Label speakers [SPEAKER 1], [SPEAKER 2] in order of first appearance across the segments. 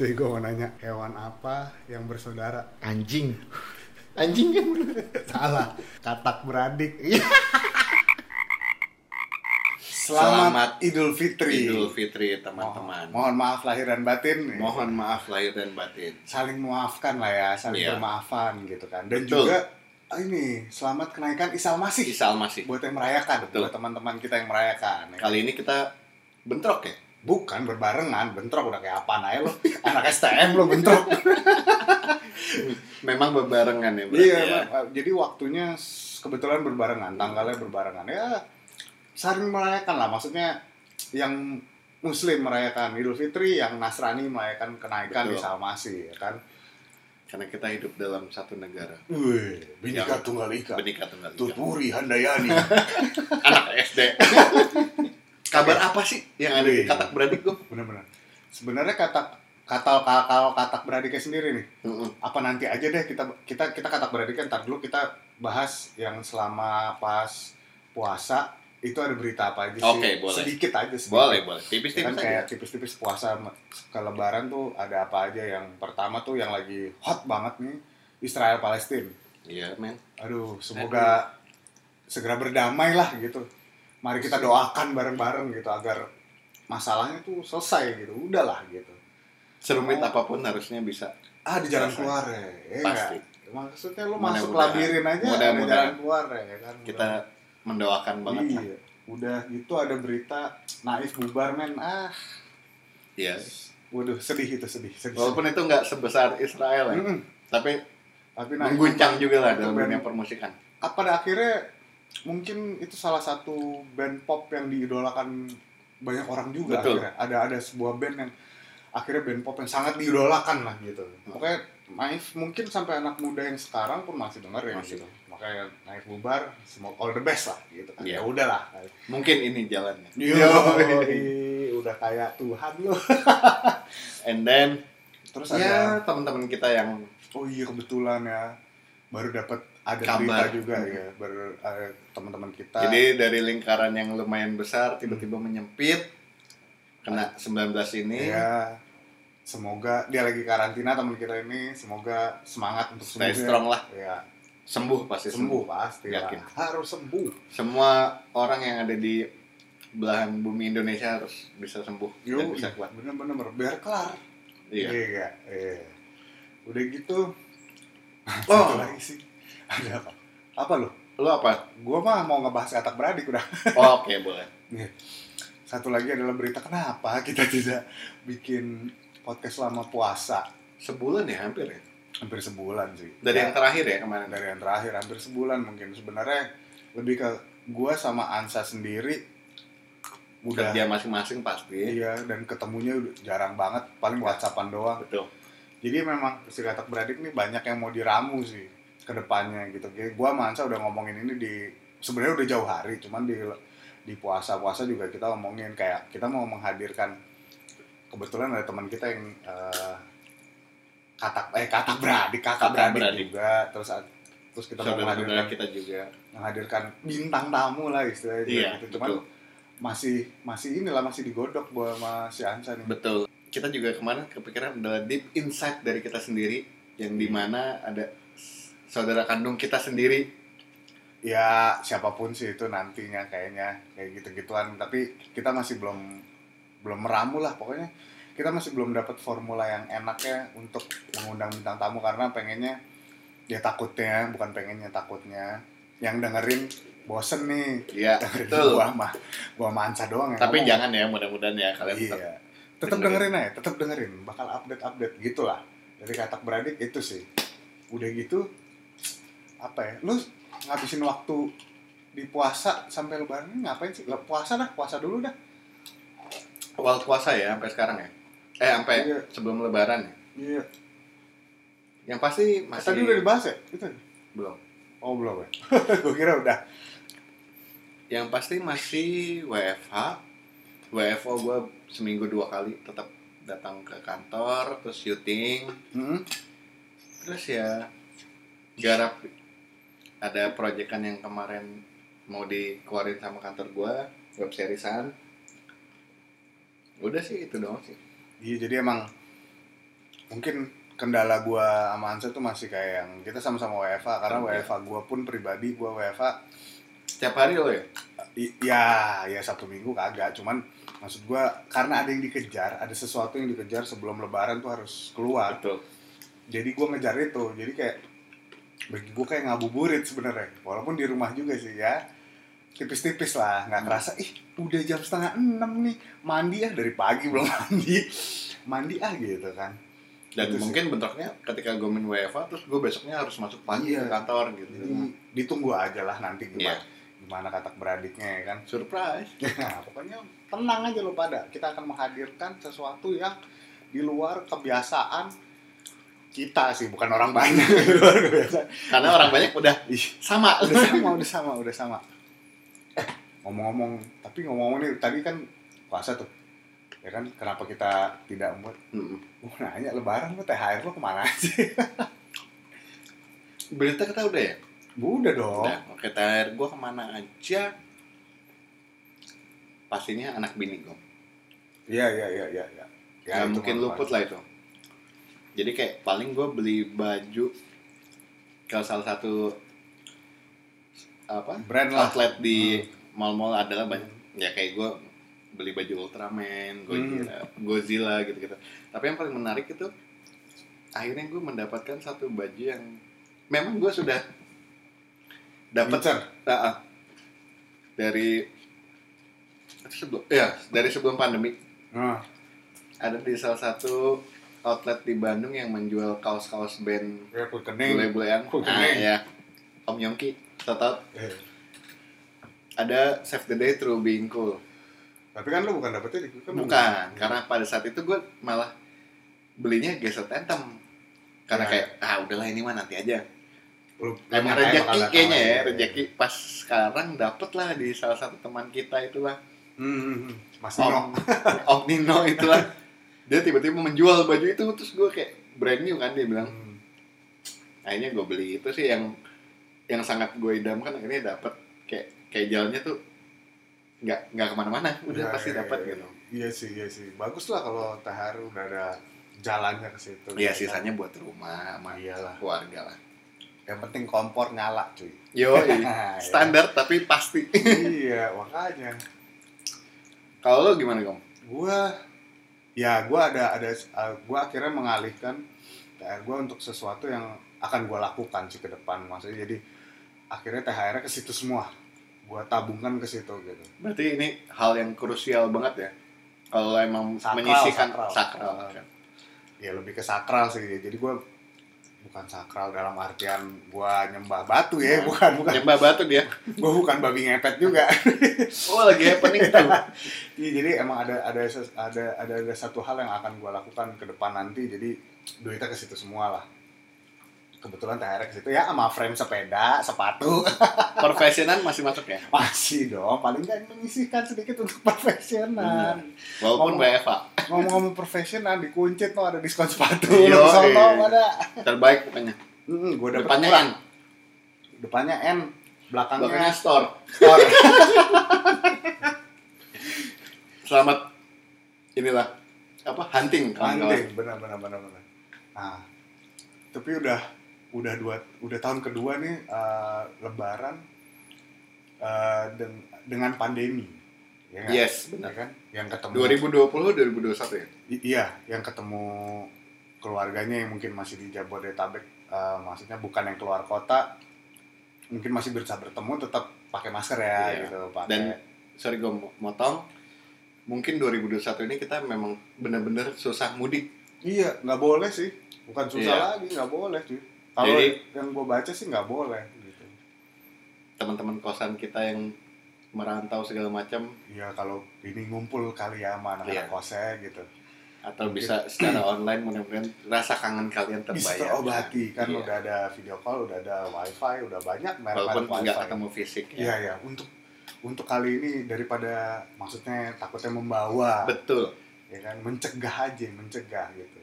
[SPEAKER 1] Jadi gue mau nanya hewan apa yang bersaudara?
[SPEAKER 2] Anjing. Anjing kan lu.
[SPEAKER 1] Salah. Katak beradik.
[SPEAKER 2] Iya. Selamat
[SPEAKER 1] Selamat Idul Fitri.
[SPEAKER 2] Idul Fitri
[SPEAKER 1] Mohon,
[SPEAKER 2] teman-teman.
[SPEAKER 1] mohon maaf lahir dan batin.
[SPEAKER 2] Mohon maaf lahir dan batin.
[SPEAKER 1] Saling memaafkan lah ya, saling
[SPEAKER 2] Iya.
[SPEAKER 1] bermaafan gitu kan. Dan
[SPEAKER 2] Betul.
[SPEAKER 1] juga ah, ini selamat kenaikan Isal Masih
[SPEAKER 2] Isal masih.
[SPEAKER 1] buat yang merayakan,
[SPEAKER 2] Betul.
[SPEAKER 1] buat teman-teman kita yang merayakan. ya.
[SPEAKER 2] Kali ini kita bentrok ya.
[SPEAKER 1] Bukan berbarengan, bentrok udah kayak apaan aja lo. Anak STM lo bentrok.
[SPEAKER 2] Memang bebarengan ya berarti
[SPEAKER 1] Iya,
[SPEAKER 2] ya.
[SPEAKER 1] Pak. jadi waktunya s- kebetulan berbarengan, tanggalnya berbarengan. Ya, saling merayakan lah. Maksudnya yang Muslim merayakan Idul Fitri, yang Nasrani merayakan kenaikan di
[SPEAKER 2] Betul.
[SPEAKER 1] Salmasi, ya kan?
[SPEAKER 2] Karena kita hidup dalam satu negara.
[SPEAKER 1] Wih,
[SPEAKER 2] Bhinneka
[SPEAKER 1] Tunggal Ika,
[SPEAKER 2] Benika tunggal ika.
[SPEAKER 1] Tuturi Handayani.
[SPEAKER 2] Anak SD. Kabar apa sih yang ada di
[SPEAKER 1] Iya.
[SPEAKER 2] katak beradik gue?
[SPEAKER 1] Bener-bener. Sebenarnya kata katal kalau katak beradiknya sendiri nih apa nanti aja deh kita kita kita katak beradiknya ntar dulu kita bahas yang selama pas puasa itu ada berita apa aja sih
[SPEAKER 2] Oke, boleh.
[SPEAKER 1] sedikit aja sedikit.
[SPEAKER 2] Boleh, boleh.
[SPEAKER 1] Ya
[SPEAKER 2] Tipis-tipis
[SPEAKER 1] kan
[SPEAKER 2] aja.
[SPEAKER 1] kayak tipis-tipis puasa me- ke lebaran tuh ada apa aja yang pertama tuh yang lagi hot banget nih Israel Palestina
[SPEAKER 2] Iya, men.
[SPEAKER 1] aduh semoga segera berdamai lah gitu mari kita doakan bareng-bareng gitu agar masalahnya tuh selesai gitu udahlah gitu
[SPEAKER 2] Serumit
[SPEAKER 1] Oh.
[SPEAKER 2] apapun harusnya bisa. Iya.
[SPEAKER 1] ah di jalan
[SPEAKER 2] Selesai.
[SPEAKER 1] keluar ya, ya
[SPEAKER 2] Pasti.
[SPEAKER 1] nggak? maksudnya lu
[SPEAKER 2] Mudah-mudahan.
[SPEAKER 1] masuk labirin aja ada
[SPEAKER 2] Mudah-mudahan.
[SPEAKER 1] jalan keluar ya kan
[SPEAKER 2] Kita mendoakan banget. lah.
[SPEAKER 1] iya. udah gitu ada berita naif bubar men ah
[SPEAKER 2] Iya.
[SPEAKER 1] waduh sedih itu sedih sedih,
[SPEAKER 2] Walaupun itu nggak sebesar Israel ya.
[SPEAKER 1] Mm-mm.
[SPEAKER 2] Tapi
[SPEAKER 1] tapi nah,
[SPEAKER 2] mengguncang juga lah dalam
[SPEAKER 1] Itu band-
[SPEAKER 2] dunia permusikan.
[SPEAKER 1] apa pada akhirnya mungkin itu salah satu band pop yang diidolakan banyak orang juga
[SPEAKER 2] Betul.
[SPEAKER 1] akhirnya ada ada sebuah band yang akhirnya band pop yang sangat diidolakan lah gitu
[SPEAKER 2] Hmm.
[SPEAKER 1] pokoknya Naif mungkin sampai anak muda yang sekarang pun masih denger ya
[SPEAKER 2] Masih.
[SPEAKER 1] gitu makanya Naif bubar semua all the best lah gitu kan
[SPEAKER 2] Iya.
[SPEAKER 1] ya udahlah
[SPEAKER 2] Mungkin ini jalannya.
[SPEAKER 1] Yoi, udah kayak Tuhan loh
[SPEAKER 2] And then
[SPEAKER 1] terus ada
[SPEAKER 2] ya teman-teman kita yang
[SPEAKER 1] oh iya kebetulan ya baru dapat ada
[SPEAKER 2] Kabar. Hmm.
[SPEAKER 1] berita juga ya baru ada teman-teman kita
[SPEAKER 2] jadi dari lingkaran yang lumayan besar tiba-tiba menyempit kena 19 ini
[SPEAKER 1] Ya, semoga dia lagi karantina teman kita ini, semoga semangat untuk sembuh.
[SPEAKER 2] stay
[SPEAKER 1] ya.
[SPEAKER 2] strong lah
[SPEAKER 1] Ya,
[SPEAKER 2] sembuh pasti sembuh.
[SPEAKER 1] sembuh pasti lah.
[SPEAKER 2] Yakin.
[SPEAKER 1] Harus sembuh.
[SPEAKER 2] Semua orang yang ada di belahan bumi Indonesia harus bisa sembuh dan
[SPEAKER 1] Yo,
[SPEAKER 2] bisa kuat.
[SPEAKER 1] bener-bener biar kelar.
[SPEAKER 2] Iya.
[SPEAKER 1] Iya. iya. Udah gitu.
[SPEAKER 2] Oh.
[SPEAKER 1] Satu lagi sih. Ada apa? Apa lu?
[SPEAKER 2] Lo apa?
[SPEAKER 1] Gua mah mau ngebahas katak beradik udah.
[SPEAKER 2] Oh, Oke, boleh.
[SPEAKER 1] Satu lagi adalah berita kenapa kita tidak bikin podcast selama puasa
[SPEAKER 2] Sebulan ya hampir ya.
[SPEAKER 1] hampir sebulan sih.
[SPEAKER 2] Dari
[SPEAKER 1] Ya,
[SPEAKER 2] yang terakhir ya kemarin.
[SPEAKER 1] dari yang terakhir hampir sebulan mungkin sebenarnya lebih ke gua sama Ansa sendiri udah
[SPEAKER 2] Kerja masing-masing pasti.
[SPEAKER 1] iya dan ketemunya udah jarang banget paling whatsappan doang
[SPEAKER 2] Betul.
[SPEAKER 1] jadi memang si katak beradik nih banyak yang mau diramu sih kedepannya gitu Jadi gua sama Ansa udah ngomongin ini di sebenarnya udah jauh hari cuman di di puasa puasa juga kita ngomongin kayak kita mau menghadirkan kebetulan ada teman kita yang eh, katak eh katak beradik kakak
[SPEAKER 2] Katak
[SPEAKER 1] beradik,
[SPEAKER 2] beradik.
[SPEAKER 1] juga terus terus kita mau menghadirkan
[SPEAKER 2] Saudara-saudara kita juga.
[SPEAKER 1] menghadirkan bintang tamu lah istilahnya
[SPEAKER 2] Iya,
[SPEAKER 1] gitu. Cuman
[SPEAKER 2] betul.
[SPEAKER 1] masih masih inilah masih digodok gua sama si Ansa nih.
[SPEAKER 2] Betul. Kita juga kemarin kepikiran adalah deep insight dari kita sendiri yang dimana ada s- saudara kandung kita sendiri.
[SPEAKER 1] Ya siapapun sih itu nantinya kayaknya kayak gitu-gituan tapi kita masih belum belum meramu lah pokoknya kita masih belum dapat formula yang enaknya untuk mengundang bintang tamu karena pengennya dia takutnya bukan pengennya takutnya yang dengerin bosen nih
[SPEAKER 2] Iya,
[SPEAKER 1] dengerin
[SPEAKER 2] betul.
[SPEAKER 1] gua mah gua sama Ansa doang yang
[SPEAKER 2] Tapi
[SPEAKER 1] ngomong.
[SPEAKER 2] jangan ya, mudah-mudahan ya kalian tetap.
[SPEAKER 1] iya. tetap
[SPEAKER 2] dengerin.
[SPEAKER 1] dengerin aja, tetap dengerin, bakal update-update gitulah. Dari katak beradik itu sih. Udah gitu apa ya? Lu ngabisin waktu di puasa sampai lebaran ini ngapain sih? Lah, puasa dah, puasa dulu dah.
[SPEAKER 2] awal puasa ya sampai sekarang ya. Eh, sampai
[SPEAKER 1] Iya.
[SPEAKER 2] sebelum lebaran ya.
[SPEAKER 1] Iya.
[SPEAKER 2] Yang pasti masih
[SPEAKER 1] Tadi udah dibahas ya? Itu.
[SPEAKER 2] belum.
[SPEAKER 1] Oh, belum ya. Gue kira udah.
[SPEAKER 2] Yang pasti masih WFH. WFO gue seminggu dua kali tetap datang ke kantor, terus syuting,
[SPEAKER 1] Hmm.
[SPEAKER 2] terus ya garap ada proyekan yang kemarin mau dikeluarin sama kantor gua web seriesan udah sih itu doang sih
[SPEAKER 1] Iya, jadi emang mungkin kendala gua sama Ansa tuh masih kayak yang kita sama-sama WFA karena
[SPEAKER 2] Iya.
[SPEAKER 1] WFA gua pun pribadi gua WFA
[SPEAKER 2] Setiap hari lo ya?
[SPEAKER 1] i- ya ya satu minggu kagak cuman maksud gua karena ada yang dikejar ada sesuatu yang dikejar sebelum lebaran tuh harus keluar
[SPEAKER 2] Betul.
[SPEAKER 1] jadi gua ngejar itu jadi kayak bagi gue kayak ngabuburit sebenarnya walaupun di rumah juga sih ya tipis-tipis lah nggak kerasa ih udah jam setengah enam nih mandi ah dari pagi belum mandi mandi ah gitu kan
[SPEAKER 2] Dan
[SPEAKER 1] Itu sih.
[SPEAKER 2] mungkin bentroknya ketika gue main WFA terus gue besoknya harus masuk pagi
[SPEAKER 1] Iya.
[SPEAKER 2] ke kantor gitu.
[SPEAKER 1] jadi ditunggu aja lah nanti
[SPEAKER 2] Iya.
[SPEAKER 1] gimana gimana katak beradiknya ya kan
[SPEAKER 2] Surprise.
[SPEAKER 1] Nah, pokoknya tenang aja lo pada. Kita akan menghadirkan sesuatu yang di luar kebiasaan kita sih, bukan orang banyak di luar kebiasaan.
[SPEAKER 2] Karena orang banyak udah
[SPEAKER 1] Ih,
[SPEAKER 2] sama.
[SPEAKER 1] udah sama, udah sama, udah sama. Eh, Ngomong-ngomong, tapi ngomong-ngomong nih tadi kan puasa tuh. Ya kan, kenapa kita tidak membuat?
[SPEAKER 2] Hmm.
[SPEAKER 1] Gue nanya, lebaran lo THR lo kemana aja?
[SPEAKER 2] Berita kita udah ya?
[SPEAKER 1] Udah dong.
[SPEAKER 2] Nah, oke THR gue kemana aja? Pastinya anak bini gue.
[SPEAKER 1] Iya, iya, iya, iya. Ya. Ya,
[SPEAKER 2] Ya,
[SPEAKER 1] itu
[SPEAKER 2] mungkin
[SPEAKER 1] mah
[SPEAKER 2] luput lah itu. Jadi kayak paling gue beli baju ke salah satu apa
[SPEAKER 1] Brand lah. Hmm.
[SPEAKER 2] outlet di mall-mall adalah banyak. Ya kayak gue beli baju Ultraman, Godzilla,
[SPEAKER 1] Hmm.
[SPEAKER 2] Godzilla gitu-gitu. Tapi yang paling menarik itu akhirnya gue mendapatkan satu baju yang memang gue sudah dapat
[SPEAKER 1] Incer.
[SPEAKER 2] Ah, ah. dari sebelum ya dari sebelum pandemi
[SPEAKER 1] Nah,
[SPEAKER 2] ada di salah satu outlet di Bandung yang menjual kaos-kaos band
[SPEAKER 1] ya, kulit kening.
[SPEAKER 2] bule-bulean.
[SPEAKER 1] Kok
[SPEAKER 2] Ah,
[SPEAKER 1] gini?
[SPEAKER 2] ya. Om Yongki, tetap
[SPEAKER 1] Eh,
[SPEAKER 2] ada Save the Day Through Being Cool.
[SPEAKER 1] Tapi kan lo bukan dapetnya di kan
[SPEAKER 2] Bukan, karena pada saat itu gue malah belinya geser tentem. Karena
[SPEAKER 1] Ya.
[SPEAKER 2] kayak, ah udahlah ini mah nanti aja.
[SPEAKER 1] Lu-
[SPEAKER 2] Emang
[SPEAKER 1] lu makanya bakal
[SPEAKER 2] rejeki
[SPEAKER 1] datang
[SPEAKER 2] kayaknya
[SPEAKER 1] lagi.
[SPEAKER 2] ya, rejeki pas sekarang dapet lah di salah satu teman kita itulah.
[SPEAKER 1] Hmm, Mas Nino.
[SPEAKER 2] Om, Om Nino itulah. Dia tiba-tiba menjual baju itu, terus gue kayak brand new kan, dia bilang,
[SPEAKER 1] Hmm.
[SPEAKER 2] akhirnya gue beli itu sih yang yang sangat gue idamkan akhirnya dapet kayak kayak jalannya tuh nggak nggak kemana-mana udah
[SPEAKER 1] Ya,
[SPEAKER 2] pasti
[SPEAKER 1] ya,
[SPEAKER 2] dapat
[SPEAKER 1] ya,
[SPEAKER 2] gitu
[SPEAKER 1] Iya sih, iya sih. Bagus lah kalau Taharu udah ada jalannya ke situ.
[SPEAKER 2] ya sisanya buat rumah sama
[SPEAKER 1] Iyalah.
[SPEAKER 2] keluarga lah
[SPEAKER 1] Yang penting kompor nyala, cuy.
[SPEAKER 2] yo
[SPEAKER 1] Nah, ya.
[SPEAKER 2] standar tapi pasti
[SPEAKER 1] iya, makanya.
[SPEAKER 2] kalau lo gimana kamu
[SPEAKER 1] Gua ya gua ada ada uh, gua akhirnya mengalihkan THR gua untuk sesuatu yang akan gua lakukan sih ke depan. Maksudnya jadi akhirnya THR-nya ke situ semua. Gua tabungkan ke situ gitu.
[SPEAKER 2] berarti ini hal yang krusial banget ya kalau lo emang
[SPEAKER 1] Sakral,
[SPEAKER 2] menyisihkan
[SPEAKER 1] sakral.
[SPEAKER 2] sakral,
[SPEAKER 1] Sakral. ya lebih ke sakral sih jadi gue bukan sakral dalam artian gue nyembah batu ya bukan bukan
[SPEAKER 2] nyembah batu dia
[SPEAKER 1] gue bukan babi ngepet juga
[SPEAKER 2] oh lagi happening tuh
[SPEAKER 1] Iya, jadi emang ada ada ses- ada ada ada satu hal yang akan gue lakukan ke depan nanti jadi duitnya ke situ semua lah kebetulan THR ke situ ya sama frame sepeda sepatu
[SPEAKER 2] profesionan masih masuk ya
[SPEAKER 1] masih dong paling nggak menyisihkan sedikit untuk profesional Ngomong-
[SPEAKER 2] walaupun WFA
[SPEAKER 1] ngomong-ngomong profesional dikuncit tuh ada diskon sepatu
[SPEAKER 2] Yoi.
[SPEAKER 1] lo kesel tau ada
[SPEAKER 2] terbaik pokoknya
[SPEAKER 1] gue iya. dapet
[SPEAKER 2] depannya
[SPEAKER 1] murah.
[SPEAKER 2] yang
[SPEAKER 1] depannya N belakangnya
[SPEAKER 2] belakangnya store
[SPEAKER 1] store
[SPEAKER 2] selamat inilah apa hunting kawan-kawan.
[SPEAKER 1] Hunting, benar benar benar benar. Nah, tapi udah udah dua udah tahun kedua nih eh, Lebaran eh, deng- dengan pandemi, ya nggak?
[SPEAKER 2] Yes,
[SPEAKER 1] Ya
[SPEAKER 2] benar.
[SPEAKER 1] kan? Yang ketemu
[SPEAKER 2] 2020 2021 ya.
[SPEAKER 1] I- iya, yang ketemu keluarganya yang mungkin masih di Jabodetabek, eh, maksudnya bukan yang keluar kota, mungkin masih bisa bertemu tetap pakai masker ya
[SPEAKER 2] Iya.
[SPEAKER 1] gitu, pakai.
[SPEAKER 2] Dan- Sorry gue motong. Mungkin 2021 ini kita memang bener-bener susah mudik.
[SPEAKER 1] Iya, nggak boleh sih. Bukan susah
[SPEAKER 2] Iya.
[SPEAKER 1] lagi, nggak boleh sih. Kalau
[SPEAKER 2] Jadi-
[SPEAKER 1] yang gue baca sih nggak boleh. Gitu.
[SPEAKER 2] Teman-teman kosan kita yang merantau segala macam
[SPEAKER 1] Iya, kalau ini ngumpul kali ya sama anak-anak
[SPEAKER 2] Iya.
[SPEAKER 1] kosnya gitu.
[SPEAKER 2] atau
[SPEAKER 1] Mungkin.
[SPEAKER 2] bisa secara online mudah-mudahan rasa kangen kalian
[SPEAKER 1] Bisa
[SPEAKER 2] terbayar.
[SPEAKER 1] terobati kan
[SPEAKER 2] Iya.
[SPEAKER 1] udah ada video call, udah ada wifi, udah banyak
[SPEAKER 2] Walaupun
[SPEAKER 1] merek-merek
[SPEAKER 2] nggak
[SPEAKER 1] wifi.
[SPEAKER 2] ketemu fisik
[SPEAKER 1] Iya,
[SPEAKER 2] ya.
[SPEAKER 1] iya. Untuk untuk kali ini daripada maksudnya takutnya membawa,
[SPEAKER 2] Betul.
[SPEAKER 1] ya kan mencegah aja, mencegah gitu.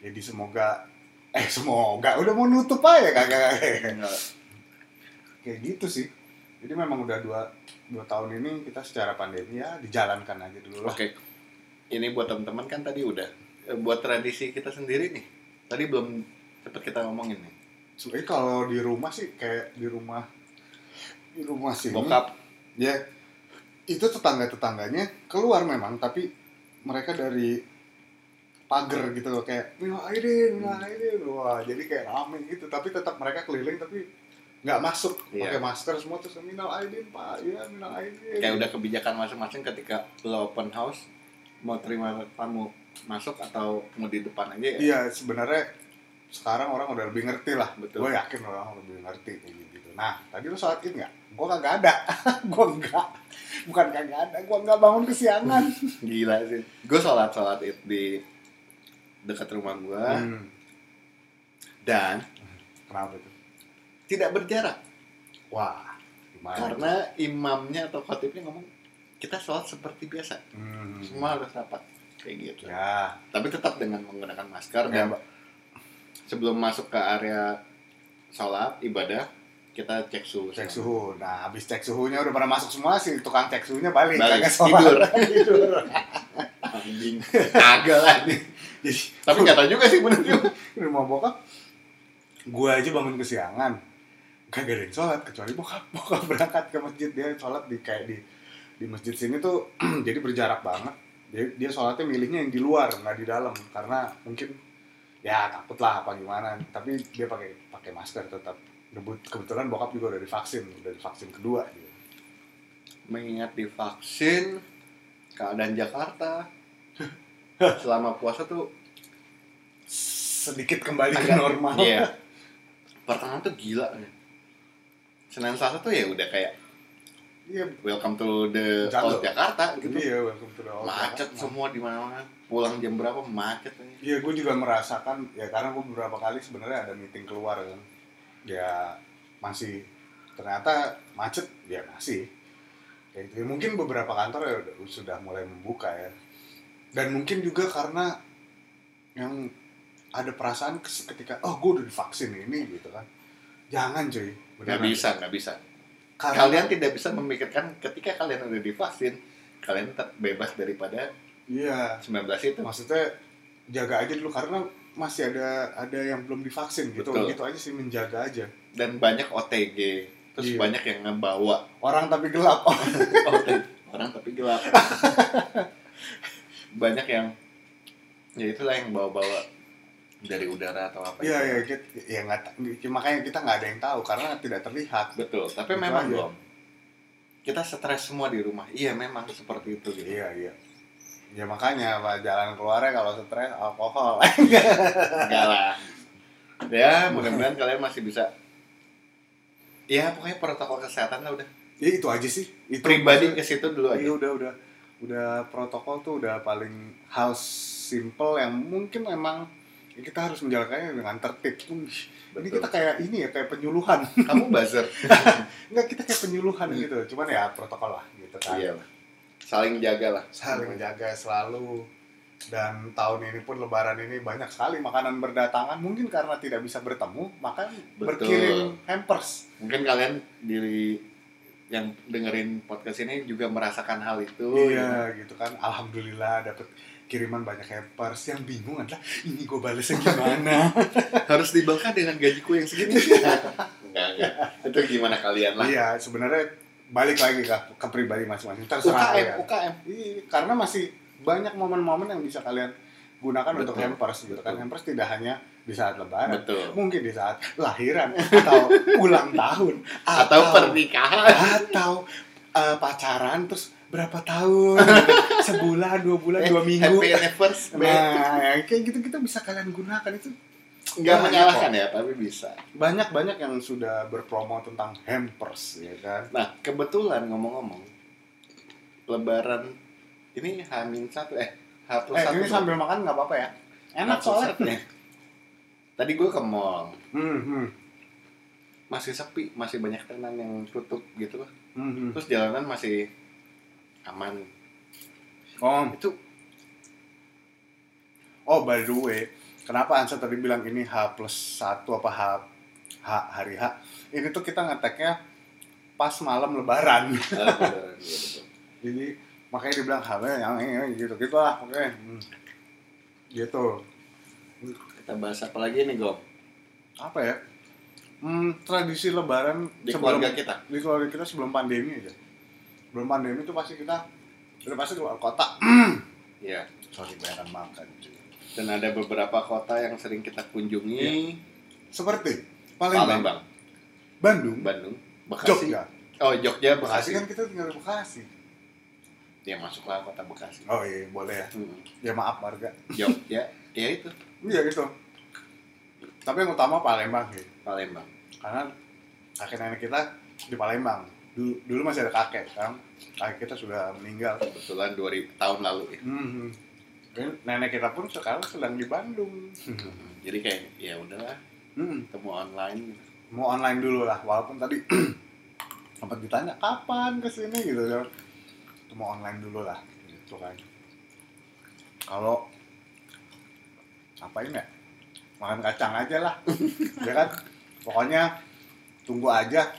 [SPEAKER 1] Jadi semoga eh semoga udah mau nutup aja kagak. kayak gitu sih jadi memang udah dua dua tahun ini kita secara pandemi ya dijalankan aja dulu lah
[SPEAKER 2] Oke. Ini buat teman-teman kan tadi udah eh, buat tradisi kita sendiri nih. Tadi belum cepet kita ngomongin nih.
[SPEAKER 1] Sebenarnya kalau di rumah sih kayak di rumah di rumah sini.
[SPEAKER 2] Bokap
[SPEAKER 1] Ya itu tetangga tetangganya keluar memang tapi mereka dari pagar gitu loh kayak Mila Aidin,
[SPEAKER 2] Hmm.
[SPEAKER 1] Mila Aidin, wah jadi kayak rame gitu tapi tetap mereka keliling tapi nggak masuk
[SPEAKER 2] Iya.
[SPEAKER 1] pakai masker semua terus Minal Aidin Pak, ya Minal Aidin.
[SPEAKER 2] kayak udah kebijakan masing-masing ketika lo open house mau terima tamu masuk atau mau di depan aja ya.
[SPEAKER 1] Iya sebenarnya sekarang orang udah lebih ngerti lah.
[SPEAKER 2] Betul.
[SPEAKER 1] Gue yakin orang lebih ngerti kayak gitu. Nah tadi lo sholat id nggak? Gue kagak ada. gue nggak. Bukan kagak ada. Gue nggak bangun kesiangan.
[SPEAKER 2] Gila sih. Gue sholat sholat id di dekat rumah gue
[SPEAKER 1] Hmm,
[SPEAKER 2] dan
[SPEAKER 1] Kenapa tuh?
[SPEAKER 2] tidak berjarak
[SPEAKER 1] Wah. Gimana?
[SPEAKER 2] karena imamnya atau khotibnya ngomong kita sholat seperti biasa
[SPEAKER 1] Hmm.
[SPEAKER 2] semua harus rapat kayak gitu.
[SPEAKER 1] Ya.
[SPEAKER 2] Tapi tetap dengan menggunakan masker
[SPEAKER 1] Ya,
[SPEAKER 2] dan sebelum masuk ke area sholat ibadah kita cek suhu.
[SPEAKER 1] Cek suhu. Nah, habis cek suhunya udah pada masuk semua sih tukang cek suhunya balik,
[SPEAKER 2] Balik,
[SPEAKER 1] kagak sholat.
[SPEAKER 2] tidur.
[SPEAKER 1] Tidur.
[SPEAKER 2] Anjing. Kagak lah nih.
[SPEAKER 1] Jadi,
[SPEAKER 2] Tapi nggak tahu juga sih bener juga.
[SPEAKER 1] di rumah bokap gue aja bangun kesiangan kagak ada yang sholat kecuali bokap bokap berangkat ke masjid dia sholat di kayak di di masjid sini tuh jadi berjarak banget dia, dia sholatnya milihnya yang di luar nggak di dalam karena mungkin ya takut lah apa gimana tapi dia pakai pakai masker tetap Kebut- kebetulan bokap juga udah divaksin udah divaksin kedua dia.
[SPEAKER 2] Mengingat divaksin keadaan Jakarta selama puasa tuh
[SPEAKER 1] sedikit kembali ke
[SPEAKER 2] agak-
[SPEAKER 1] normal
[SPEAKER 2] Iya. Pertengahan tuh gila. nih. Senin Selasa tuh ya udah kayak
[SPEAKER 1] iya
[SPEAKER 2] welcome to the
[SPEAKER 1] Jalan.
[SPEAKER 2] old Jakarta
[SPEAKER 1] gitu
[SPEAKER 2] gitu.
[SPEAKER 1] ya welcome to the old
[SPEAKER 2] Macet
[SPEAKER 1] Jakarta.
[SPEAKER 2] semua di mana-mana. Pulang jam berapa macet aja.
[SPEAKER 1] Iya, gue juga merasakan ya karena gue beberapa kali sebenarnya ada meeting keluar kan, ya masih ternyata macet ya masih. Ya, itu. mungkin beberapa kantor ya udah- sudah mulai membuka ya, dan mungkin juga karena yang ada perasaan kes- ketika oh gue udah divaksin ini gitu kan, jangan cuy.
[SPEAKER 2] Nggak
[SPEAKER 1] beneran.
[SPEAKER 2] bisa, nggak bisa.
[SPEAKER 1] Karena-
[SPEAKER 2] Kalian tidak bisa memikirkan ketika kalian udah divaksin, kalian tetap bebas daripada
[SPEAKER 1] Iya.
[SPEAKER 2] 19 itu.
[SPEAKER 1] maksudnya jaga aja dulu karena masih ada ada yang belum divaksin gitu
[SPEAKER 2] Betul.
[SPEAKER 1] gitu aja sih menjaga aja
[SPEAKER 2] dan banyak OTG terus
[SPEAKER 1] Iya.
[SPEAKER 2] banyak yang ngebawa
[SPEAKER 1] orang tapi gelap
[SPEAKER 2] OTG orang tapi gelap banyak yang ya itulah yang bawa-bawa dari udara atau apa
[SPEAKER 1] Iya
[SPEAKER 2] gitu.
[SPEAKER 1] iya kita, ya nggak ta- ya, makanya kita nggak ada yang tahu karena tidak terlihat.
[SPEAKER 2] betul tapi
[SPEAKER 1] Itu
[SPEAKER 2] memang
[SPEAKER 1] aja.
[SPEAKER 2] belum kita stres semua di rumah iya memang seperti itu gitu.
[SPEAKER 1] Iya iya. Ya makanya apa jalan keluarnya kalau stres alkohol.
[SPEAKER 2] enggak lah ya mudah-mudahan kalian masih bisa ya pokoknya protokol kesehatan lah udah
[SPEAKER 1] ya itu aja sih. Itu
[SPEAKER 2] pribadi ke situ dulu
[SPEAKER 1] Iya
[SPEAKER 2] aja
[SPEAKER 1] udah udah udah protokol tuh udah paling hal simple yang mungkin emang ya kita harus menjalankannya dengan tertib. Wih, Ini
[SPEAKER 2] Betul.
[SPEAKER 1] kita kayak ini ya kayak penyuluhan.
[SPEAKER 2] kamu buzzer
[SPEAKER 1] Enggak kita kayak penyuluhan
[SPEAKER 2] Iya.
[SPEAKER 1] gitu. Cuman ya protokol lah gitu kan.
[SPEAKER 2] iya lah saling jaga lah
[SPEAKER 1] saling menjaga selalu dan tahun ini pun lebaran ini banyak sekali makanan berdatangan mungkin karena tidak bisa bertemu maka
[SPEAKER 2] Betul.
[SPEAKER 1] berkirim hampers
[SPEAKER 2] mungkin kalian diri yang dengerin podcast ini juga merasakan hal itu
[SPEAKER 1] iya gitu kan alhamdulillah dapat kiriman banyak hampers yang bingung adalah ini gue balesnya gimana
[SPEAKER 2] harus dibaca dengan gajiku yang segini enggak enggak itu gimana kalian lah
[SPEAKER 1] iya sebenarnya balik lagi ke, ke pribadi masing-masing terserah
[SPEAKER 2] UKM
[SPEAKER 1] kalian
[SPEAKER 2] UKM
[SPEAKER 1] Iya, karena masih banyak momen-momen yang bisa kalian gunakan untuk
[SPEAKER 2] Betul.
[SPEAKER 1] hampers gitu kan
[SPEAKER 2] Betul.
[SPEAKER 1] hampers tidak hanya di saat lebaran
[SPEAKER 2] betul
[SPEAKER 1] mungkin di saat lahiran atau ulang tahun
[SPEAKER 2] atau pernikahan
[SPEAKER 1] atau eh, pacaran terus berapa tahun sebulan dua bulan dua minggu
[SPEAKER 2] Eh, happy anniversary
[SPEAKER 1] nah yang kayak gitu kita bisa kalian gunakan itu
[SPEAKER 2] enggak
[SPEAKER 1] Banyak
[SPEAKER 2] menyalahkan ya tapi bisa
[SPEAKER 1] banyak banyak yang sudah berpromo tentang hampers ya kan
[SPEAKER 2] nah kebetulan ngomong-ngomong lebaran ini Hamin satu eh H plus
[SPEAKER 1] eh
[SPEAKER 2] satu
[SPEAKER 1] ini sambil makan nggak apa-apa ya enak
[SPEAKER 2] H plus
[SPEAKER 1] soalnya
[SPEAKER 2] satu. Nah, tadi gue ke mall
[SPEAKER 1] hmm, hmm,
[SPEAKER 2] masih sepi masih banyak tenan yang tutup gitu loh
[SPEAKER 1] hmm, hmm.
[SPEAKER 2] terus jalanan masih aman
[SPEAKER 1] om
[SPEAKER 2] itu
[SPEAKER 1] oh by the way kenapa Ansa tadi bilang ini H plus satu apa H, H hari H ini tuh kita ngeteknya pas malam lebaran
[SPEAKER 2] Iya,
[SPEAKER 1] eh, jadi makanya dibilang hal yang gitu gitu lah oke Hmm. gitu
[SPEAKER 2] Kita bahas apa lagi nih, Gom?
[SPEAKER 1] apa ya hmm, tradisi lebaran
[SPEAKER 2] Di
[SPEAKER 1] sebelum
[SPEAKER 2] keluarga kita.
[SPEAKER 1] di keluarga kita sebelum pandemi aja sebelum pandemi itu pasti kita udah pasti keluar kota
[SPEAKER 2] Iya.
[SPEAKER 1] sorry bayaran makan cuy.
[SPEAKER 2] Dan ada beberapa kota yang sering kita kunjungi.
[SPEAKER 1] seperti Iya. Palembang,
[SPEAKER 2] Palembang,
[SPEAKER 1] Bandung,
[SPEAKER 2] Bandung, Bekasi.
[SPEAKER 1] Jogja
[SPEAKER 2] Oh, Jogja,
[SPEAKER 1] Bekasi
[SPEAKER 2] Bekasi.
[SPEAKER 1] kan kita tinggal di Bekasi
[SPEAKER 2] Ya masuklah kota Bekasi.
[SPEAKER 1] oh iya boleh ya
[SPEAKER 2] Hmm.
[SPEAKER 1] ya maaf warga
[SPEAKER 2] Jogja, ya itu
[SPEAKER 1] iya gitu tapi yang utama Palembang sih
[SPEAKER 2] Palembang.
[SPEAKER 1] karena kakek nenek kita di Palembang dulu, dulu masih ada kakek sekarang kakek kita sudah meninggal
[SPEAKER 2] Kebetulan 2000 tahun lalu ya.
[SPEAKER 1] Mhm. Dan nenek kita pun sekarang sedang di Bandung
[SPEAKER 2] Jadi kayak ya udahlah,
[SPEAKER 1] Mhm.
[SPEAKER 2] temu online.
[SPEAKER 1] mau online dulu lah walaupun tadi sempat ditanya kapan kesini gitu kan Itu mau online dulu lah gitu kan kalau apain ya makan kacang aja lah ya kan pokoknya tunggu aja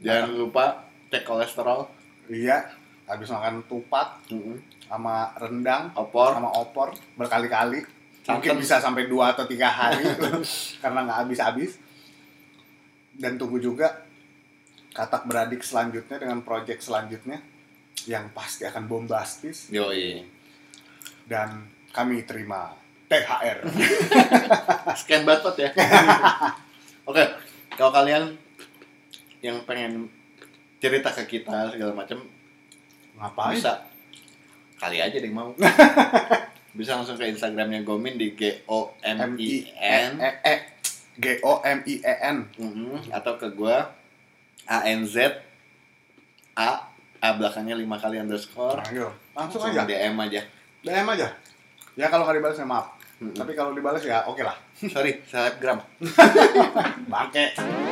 [SPEAKER 1] Nah.
[SPEAKER 2] Jangan lupa cek kolesterol,
[SPEAKER 1] Iya, habis makan tupat
[SPEAKER 2] Mm-hmm.
[SPEAKER 1] sama rendang
[SPEAKER 2] opor,
[SPEAKER 1] sama opor berkali-kali. Mungkin
[SPEAKER 2] santan.
[SPEAKER 1] bisa sampai dua atau tiga hari karena nggak habis-habis. Dan tunggu juga katak beradik selanjutnya dengan proyek selanjutnya yang pasti akan bombastis
[SPEAKER 2] Yoi.
[SPEAKER 1] dan kami terima THR.
[SPEAKER 2] Scan barcode ya. Oke, kalau kalian yang pengen cerita ke kita segala macam
[SPEAKER 1] Ngapain?
[SPEAKER 2] bisa kali aja deh mau bisa langsung ke instagramnya Gomin di g o m i n
[SPEAKER 1] E E G O M I E N.
[SPEAKER 2] Mhm, atau ke gua a n z a a belakangnya lima kali underscore
[SPEAKER 1] Panggil. Langsung aja.
[SPEAKER 2] dm aja
[SPEAKER 1] DM aja. Ya kalau nggak dibalas ya maaf.
[SPEAKER 2] Mhm.
[SPEAKER 1] Tapi kalau dibalas ya oke lah.
[SPEAKER 2] sorry selebgram
[SPEAKER 1] Bangke.